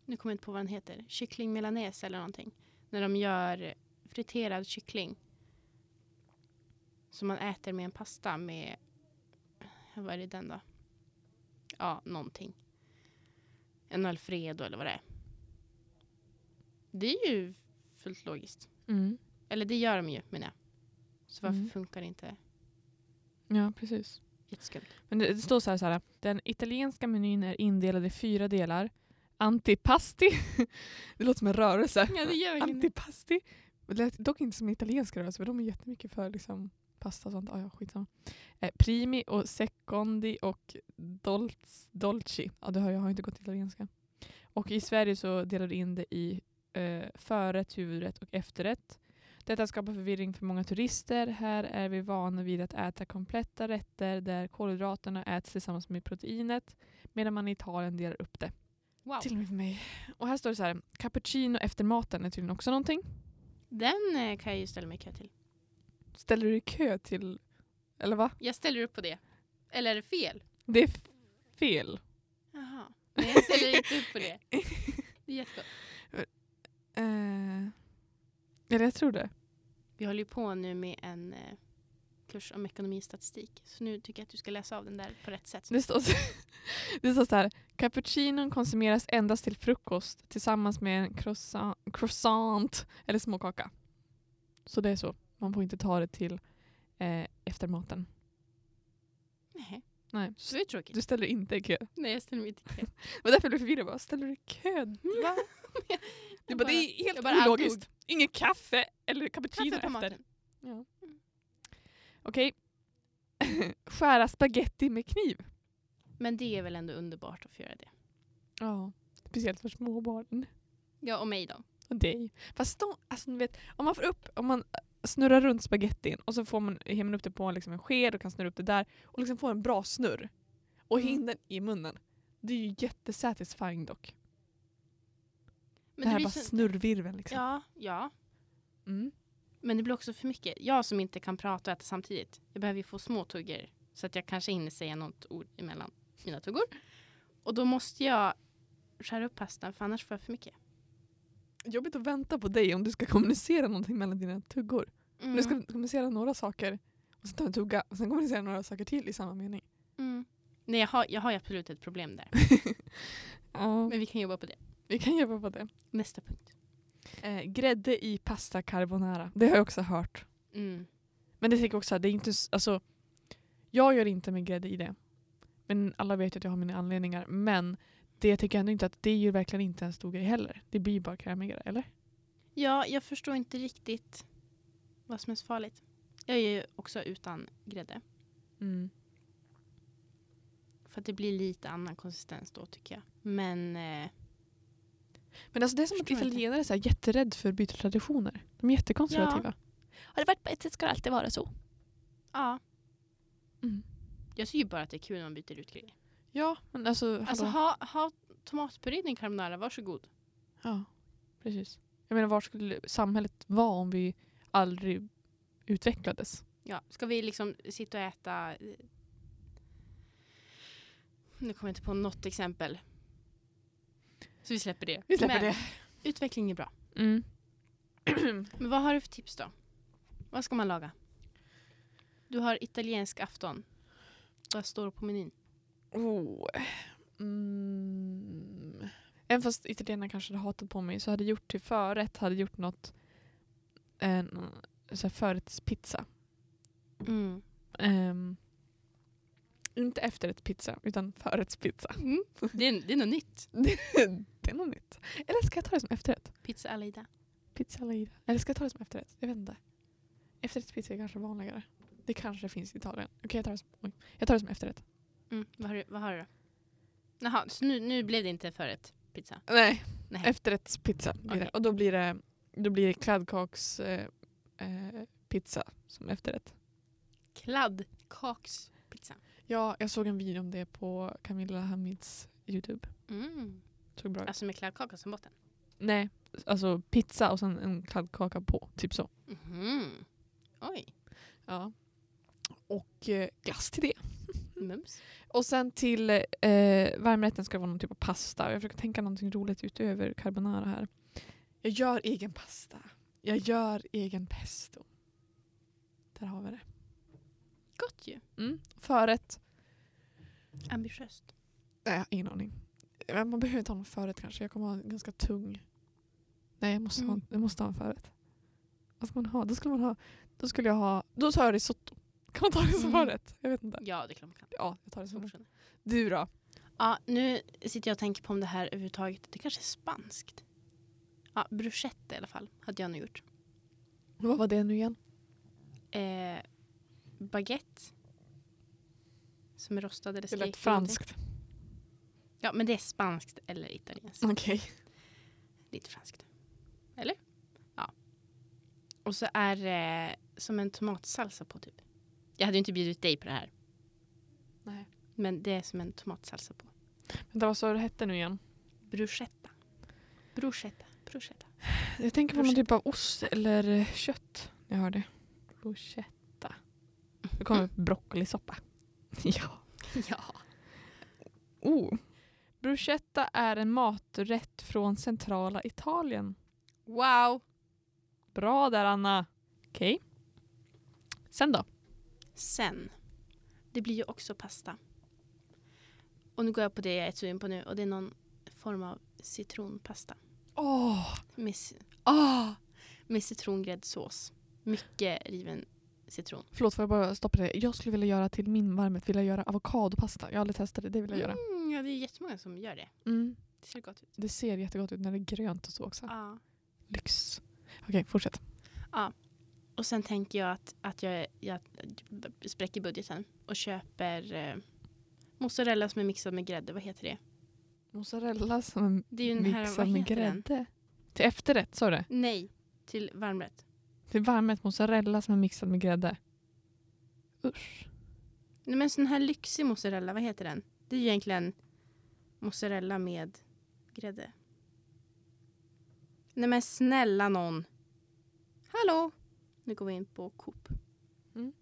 nu kommer jag inte på vad den heter, kyckling milanese eller någonting. När de gör friterad kyckling. Som man äter med en pasta med, eh, vad är det den då? Ja, någonting. En alfredo eller vad det är. Det är ju fullt logiskt. Mm. Eller det gör de ju menar jag. Så varför Mm. funkar det inte? Ja, precis. Jätteskumt. Men det, det står så här, så här. Den italienska menyn är indelad i fyra delar. Antipasti. [LAUGHS] det låter som en rörelse. Ja, det gör verkligen Antipasti. Det lät dock inte som en italiensk rörelse för de är jättemycket för liksom, pasta och sånt. Ah, ja, skitsamma. Eh, primi och secondi och dol dolci. Ja, det har, jag har inte gått italienska. Och i Sverige så delar du in det i eh, förrätt, huvudrätt och efterrätt. Detta skapar förvirring för många turister. Här är vi vana vid att äta kompletta rätter där kolhydraterna äts tillsammans med proteinet medan man i Italien delar upp det. Wow. Till och med för mig. Och här står det så här, cappuccino efter maten är tydligen också någonting. Den eh, kan jag ju ställa mig i kö till. Ställer du i kö till, eller va? Jag ställer upp på det. Eller är det fel? Det är f- fel. Jaha. Nej, jag ställer inte upp på det. [LAUGHS] Det är jättegott. Eh, eller jag tror det. Vi håller ju på nu med en eh, kurs om ekonomistatistik. Så nu tycker jag att du ska läsa av den där på rätt sätt. Det står, så, [LAUGHS] det står så här. Cappuccinon konsumeras endast till frukost tillsammans med en croissant, croissant eller småkaka. Så det är så. Man får inte ta det till eh, eftermaten. Nej, Nej. så det är tråkigt. Du ställer inte i kö. Nej, jag ställer mig inte i kö. Det var därför jag blev förvirrad. Bara, ställer du i kö? [LAUGHS] Va? Det, är bara, det är helt jag Mm. bara antog. ologiskt. Inget kaffe eller cappuccino Kaffe på efter. maten. Ja. Okej. [LAUGHS] Skära spaghetti med kniv. Men det är väl ändå underbart att få göra det. Ja. Speciellt för små barn. Ja, och mig då. Och dig. Fast de, alltså, ni vet, om man får upp, om man snurrar runt spagettin och så får man, ger man upp det på liksom, en sked och kan snurra upp det där och liksom får en bra snurr. Och Mm. hinden i munnen. Det är ju jättesatisfying dock. Men det här är blir bara så- snurrvirveln liksom. Ja, ja. Mm. Men det blir också för mycket. Jag som inte kan prata och äta samtidigt. Jag behöver ju få små tuggor. Så att jag kanske hinner säga något ord emellan mina tuggor. Och då måste jag skära upp pastan för annars får jag för mycket. Jobbigt att vänta på dig om du ska [LAUGHS] kommunicera någonting mellan dina tuggor. Mm. Du ska kommunicera några saker och sen ta en tugga och sen kommunicera några saker till i samma mening. Mm. Nej, jag har, jag har ju absolut ett problem där. Ja, Men vi kan jobba på det. vi kan jobba på det. Nästa punkt. Eh, grädde i pasta carbonara. Det har jag också hört. Mm. Men det tänker jag också, det är inte, s- alltså, jag gör inte med grädde i det. Men alla vet ju att jag har mina anledningar. Men det tycker jag ändå inte att det är ju verkligen inte en stor grej heller. Det blir ju bara krämigare, eller? Ja, jag förstår inte riktigt vad som är så farligt. Jag är ju också utan grädde. Mm. För att det blir lite annan konsistens då tycker jag. Men eh, Men alltså det är som att Förstår inte. italienare är så här jätterädd för att byta traditioner. De är jättekonservativa. Har det varit på ett sätt ska det alltid vara så. ja. Mm. Jag tycker bara att det är kul när man byter ut grejer. Ja, men alltså... Alltså hallå. ha, ha tomatpuréd i en carbonara, varsågod. Ja, precis. Jag menar, var skulle samhället vara om vi aldrig utvecklades? Ja, ska vi liksom sitta och äta... eh, Nu kommer jag inte på något exempel. Så vi släpper det. Men Utveckling är bra. Mm. Men vad har du för tips då? Vad ska man laga? Du har italiensk afton. Vad står det på menyn? [CLEARS THROAT] Oh. Mm. Även fast italienarna kanske hade hatat på mig så hade jag gjort till förrätt, hade gjort något en så här förrättspizza. Mm. Ehm, inte efterrättspizza utan förrättspizza. [LAUGHS] Det, är, det är något nytt. det är något nytt. Eller ska jag ta det som efterrätt? Pizza alla ida. Pizza alla ida. Eller ska jag ta det som efterrätt? Jag vet inte. Efterrättspizza är kanske vanligare. Det kanske finns i Italien. Okej, jag tar det som, oj. Jag tar det som efterrätt. Mm. Vad, har du, vad har du då? Jaha, så nu, nu blev det inte förrätt pizza. Nej, Nej. efterrättspizza. blir det. Okej. Och då blir det, då blir det kladdkakspizza eh, eh, pizza som efterrätt. Kladdkakspizza. Ja, jag såg en video om det på Camilla Hamids Youtube. Mm. Såg bra ut. Alltså med kladdkaka som botten. Nej, alltså pizza och sen en kladdkaka på. Typ så. Mhm. Oj, Ja. Och eh, glass till det. mums. Och sen till eh, varmrätten ska det vara någon typ av pasta. Jag försöker tänka någonting roligt utöver carbonara här. Jag gör egen pasta. Jag gör egen pesto. Där har vi det. Gott ju. Mm. Förrätt? Ambitiöst. Nej, jag har ingen aning. Men Man behöver inte ha någon förrätt kanske. Jag kommer ha en ganska tung... Nej, jag måste, ha, Mm. jag måste ha en förrätt. Vad ska man ha? Då skulle, man ha, då skulle jag ha... Då tar jag risotto. Kan man ta det som Mm. förrätt? Jag vet inte. Mm. Ja, det är klart man kan. Ja, jag tar det som Svårt förrätt. sen. Du då? Ja, nu sitter jag och tänker på om det här överhuvudtaget, det kanske är spanskt. Ja, bruschetta i alla fall, hade jag nog gjort. Vad var det nu igen? Eh, baguette. Som är rostad eller Det stekt. lät eller någonting. franskt. Ja, men det är spanskt eller italienskt. Okej. Lite franskt. Eller? Ja. Och så är det som en tomatsalsa på typ. Jag hade ju inte bjudit dig på det här. Nej. Men det är som en tomatsalsa på. Vänta, vad sa du hette nu igen? Bruschetta. Bruschetta. Bruschetta. Jag tänker på någon typ av ost eller eh, kött. Jag hör det. Bruschetta. Nu kommer [LAUGHS] broccolisoppa. Ja. [LAUGHS] Ja. Oh. Bruschetta är en maträtt från centrala Italien. Wow. Bra där Anna. Okej. Sen då? Sen. Det blir ju också pasta. Och nu går jag på det jag är sugen på nu och det är någon form av citronpasta. Åh! Med, ci- ah. med citrongräddsås. Mycket riven citron. Förlåt, får jag bara stoppa det? Jag skulle vilja göra till min varmrätt, vilja göra avokadopasta. Jag har aldrig testat det, det vill jag göra. Mm, ja, det är jättemånga som gör det. Mm. Ah. Det ser gott ut. Det ser jättegott ut när det är grönt och så också. Ja. Lyx. Okej, fortsätt. Och sen tänker jag att, att jag, jag spräcker budgeten och köper eh, mozzarella som är mixad med grädde. Vad heter det? Mozzarella som en Det är ju den här, Mixad vad med heter den? grädde. Till efterrätt sa du det? Nej, till varmrätt. Till varmrätt mozzarella som är mixad med grädde. Usch. Nej men sån här lyxig mozzarella, vad heter den? Det är ju egentligen mozzarella med grädde. Nej men snälla någon. Hallå! Nu går vi in på Coop. Mm.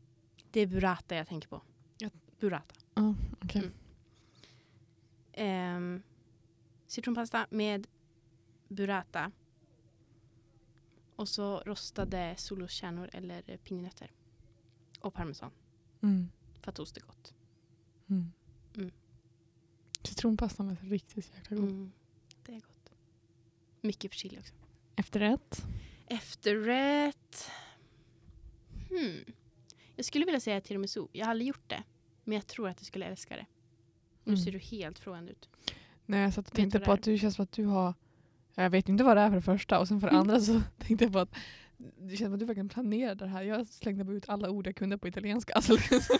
Det är burrata jag tänker på. Ja. Burrata. Ja, okej. Mm. Ehm, citronpasta med burrata. Och så rostade solroskärnor eller pinjenötter. Och parmesan. Mm. För att ost är gott. Mm. Mm. Citronpastan lät riktigt jäkla god. Mm, det är gott. Mycket chili också. Efterrätt. Efterrätt. Hmm. Jag skulle vilja säga tiramisu. Jag har aldrig gjort det. Men jag tror att jag skulle älska det. Nu Mm. ser du helt frågande ut. Nej, jag satt och Vet tänkte vad på det är? att du känns som att du har... Jag vet inte vad det är för det första och sen för [LAUGHS] det andra så tänkte jag på att det känns som att du verkligen planerade det här. Jag slängde bara ut alla ord jag kunde på italienska. [LAUGHS] Alltså, liksom.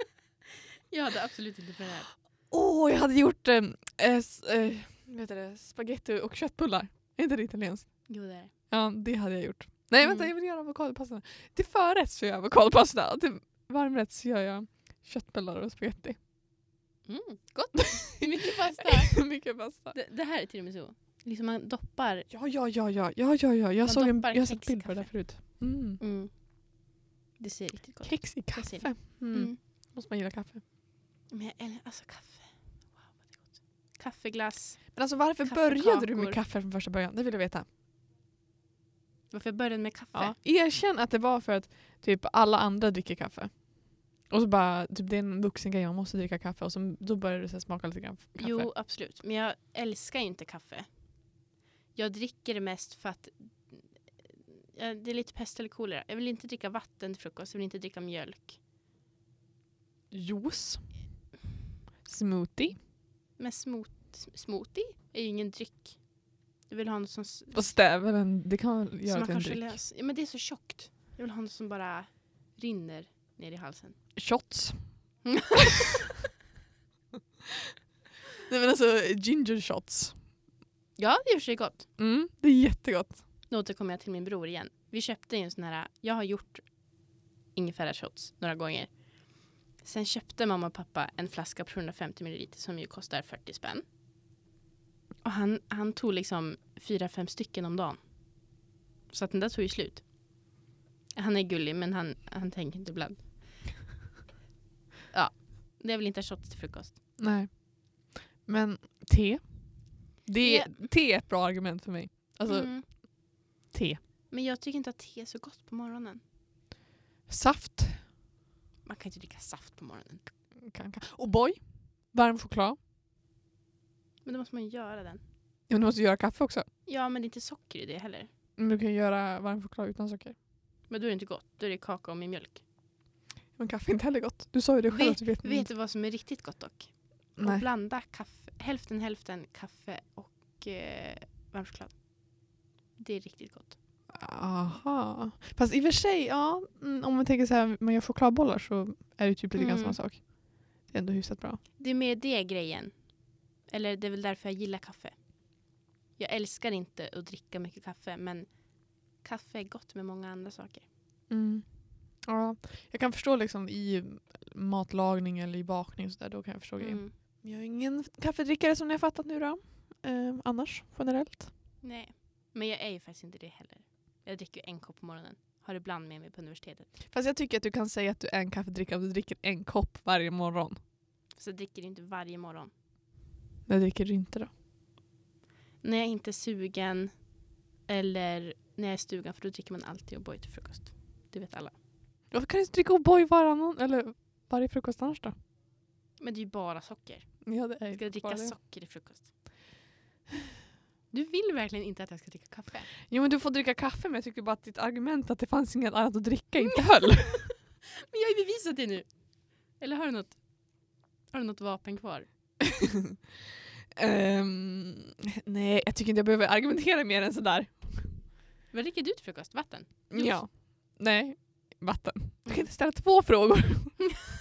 [LAUGHS] Jag hade absolut inte planerat. Åh, jag hade gjort eh, eh, s- eh, vad heter det, spaghetti och köttbullar. Är inte det italienskt? Jo det är det. Ja, det hade jag gjort. Nej, vänta, Mm. jag vill göra avokadopasta. Till förrätt så gör jag avokadopasta. Till varmrätt så gör jag Köttbullar och spagetti. Mm, gott! [LAUGHS] Mycket [LAUGHS] pasta. Mycket pasta. [LAUGHS] Det, det här är tiramisu. Liksom man doppar. Ja, ja, ja, ja, ja, ja, ja. Jag, Man såg en, doppar jag har sett kex i bild på det där kaffe. förut. Mm. Mm. Det ser riktigt gott ut. Kex i Precis. kaffe. Mm. Mm. Måste man gilla kaffe. Men jag älskar, alltså kaffe. Wow, vad det är gott. Kaffeglass. Men alltså varför började du med Kaffekakor. kaffe från första början? Det vill jag veta. Varför jag började med kaffe? Ja. Erkänn att det var för att typ alla andra dricker kaffe. Och så bara, typ det är en vuxen grej, man måste dricka kaffe. Och så, då började det så här smaka lite grann kaffe. Jo, absolut. Men jag älskar ju inte kaffe. Jag dricker det mest för att ja, det är lite pest eller kolera. Jag vill inte dricka vatten till frukost, jag vill inte dricka mjölk. Juice. Smoothie. Men smooth, smoothie är ju ingen dryck. Jag vill ha något som, s- Och stävelen, det kan man som göra man till en kanske dryck. löser. Ja, men det är så tjockt. Jag vill ha något som bara rinner ner i halsen. Shots. [LAUGHS] Nej men alltså ginger shots. Ja, det är i och för sig gott. Mm, det är jättegott. Nu återkommer jag till min bror igen. Vi köpte ju en sån här, jag har gjort ingefärashots några gånger. Sen köpte mamma och pappa en flaska på 150 ml som ju kostar 40 spänn. Och han, han tog liksom fyra fem stycken om dagen. Så att den där tog ju slut. Han är gullig men han, han tänker inte ibland. Ja, det är väl inte shots till frukost. Nej. Men te. Det är, Te är ett bra argument för mig. Alltså Mm. te. Men jag tycker inte att te är så gott på morgonen. Saft. Man kan inte dricka saft på morgonen. Kan, kan. O'boy. Varm choklad. Men då måste man ju göra den. Ja, Men du måste göra kaffe också. Ja, men det är inte socker i det heller. Men du kan göra varm choklad utan socker. Men då är det inte gott. Då är det kakao med mjölk. Men kaffe är inte heller gott. Du sa ju det själv. att du vet, Vet du vad som är riktigt gott dock? Att Mm. Nej. blanda kaffe, hälften hälften kaffe och eh, varm choklad. Det är riktigt gott. Aha. Fast i och för sig, ja, mm, om man tänker så här, man gör chokladbollar så är det typ lite grann Mm. samma sak. Det är ändå hyfsat bra. Det är mer det grejen. Eller det är väl därför jag gillar kaffe. Jag älskar inte att dricka mycket kaffe men kaffe är gott med många andra saker. Mm. Ja, jag kan förstå liksom i matlagning eller i bakning och sådär, då kan jag förstå grejen. Mm. Jag är ingen kaffedrickare som ni har fattat nu då. Ehm, annars generellt. Nej. Men jag är ju faktiskt inte det heller. Jag dricker ju en kopp på morgonen. Har ibland med mig på universitetet. Fast jag tycker att du kan säga att du är en kaffedrickare om du dricker en kopp varje morgon. Så jag dricker inte varje morgon. Det dricker du inte då. när jag inte är sugen eller när jag är i stugan för då dricker man alltid O'boy till frukost. Det vet alla. Varför kan du inte dricka O'boy varannan eller varje frukost annars då? Men det är ju bara socker. Ja, det är Jag ska ju bara dricka det. socker i frukost. Du vill verkligen inte att jag ska dricka kaffe. Jo men du får dricka kaffe men jag tycker bara att ditt argument att det fanns inget annat att dricka inte höll. Men jag har ju bevisat det nu. Eller har du något, har du något vapen kvar? [LAUGHS] Ehm, nej jag tycker inte jag behöver argumentera mer än sådär. Vad dricker du till frukost? Vatten? Juice. Ja. Mm. Nej. Vatten. Du kan inte ställa två [LAUGHS] frågor.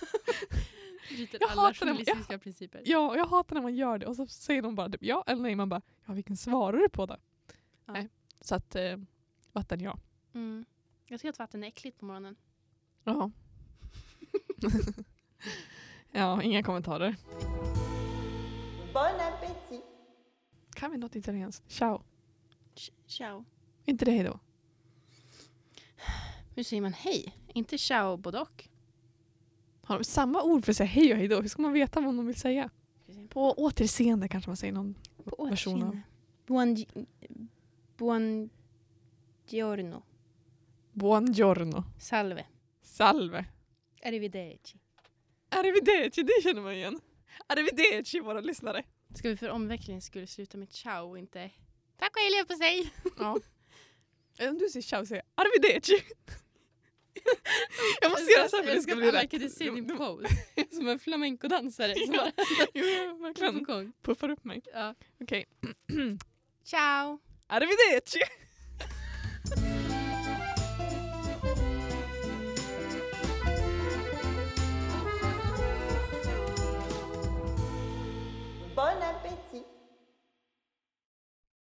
[LAUGHS] Bryter Jag alla hatar det. journalistiska principer. Ja, och jag hatar när man gör det och så säger de bara typ ja eller nej. Man bara ja vilken svarar du på då? Ja. Nej. Så att eh, vatten ja. Mm. Jag tycker att vatten är äckligt på morgonen. Jaha. [LAUGHS] ja, inga kommentarer. Bon appétit. Kan vi något italienskt? Ciao. Ch- Ciao. Inte det hejdå. Hur säger man hej? Inte ciao både och. Har de samma ord för att säga hej och hejdå? Hur ska man veta vad de vill säga? Ska vi se. På återseende kanske man säger någon på version av- återseende. Buon, buon giorno. buongiorno. Salve. Salve. Arrivederci. Arrivederci, det känner man igen. Arrivederci våra lyssnare. Ska vi för omväxlingen skulle sluta med ciao och inte tack och hej på sig. Om du säger ciao säger jag arrivederci. jag måste göra så här för att det ska bli alla rätt. kunde se din Jo, [LAUGHS] pose. Som en [LAUGHS] flamencodansare. som Ja, bara- jo, [LAUGHS] på verkligen. gång. Puffar upp mig. Ja. Okej. Ciao. Arrivederci!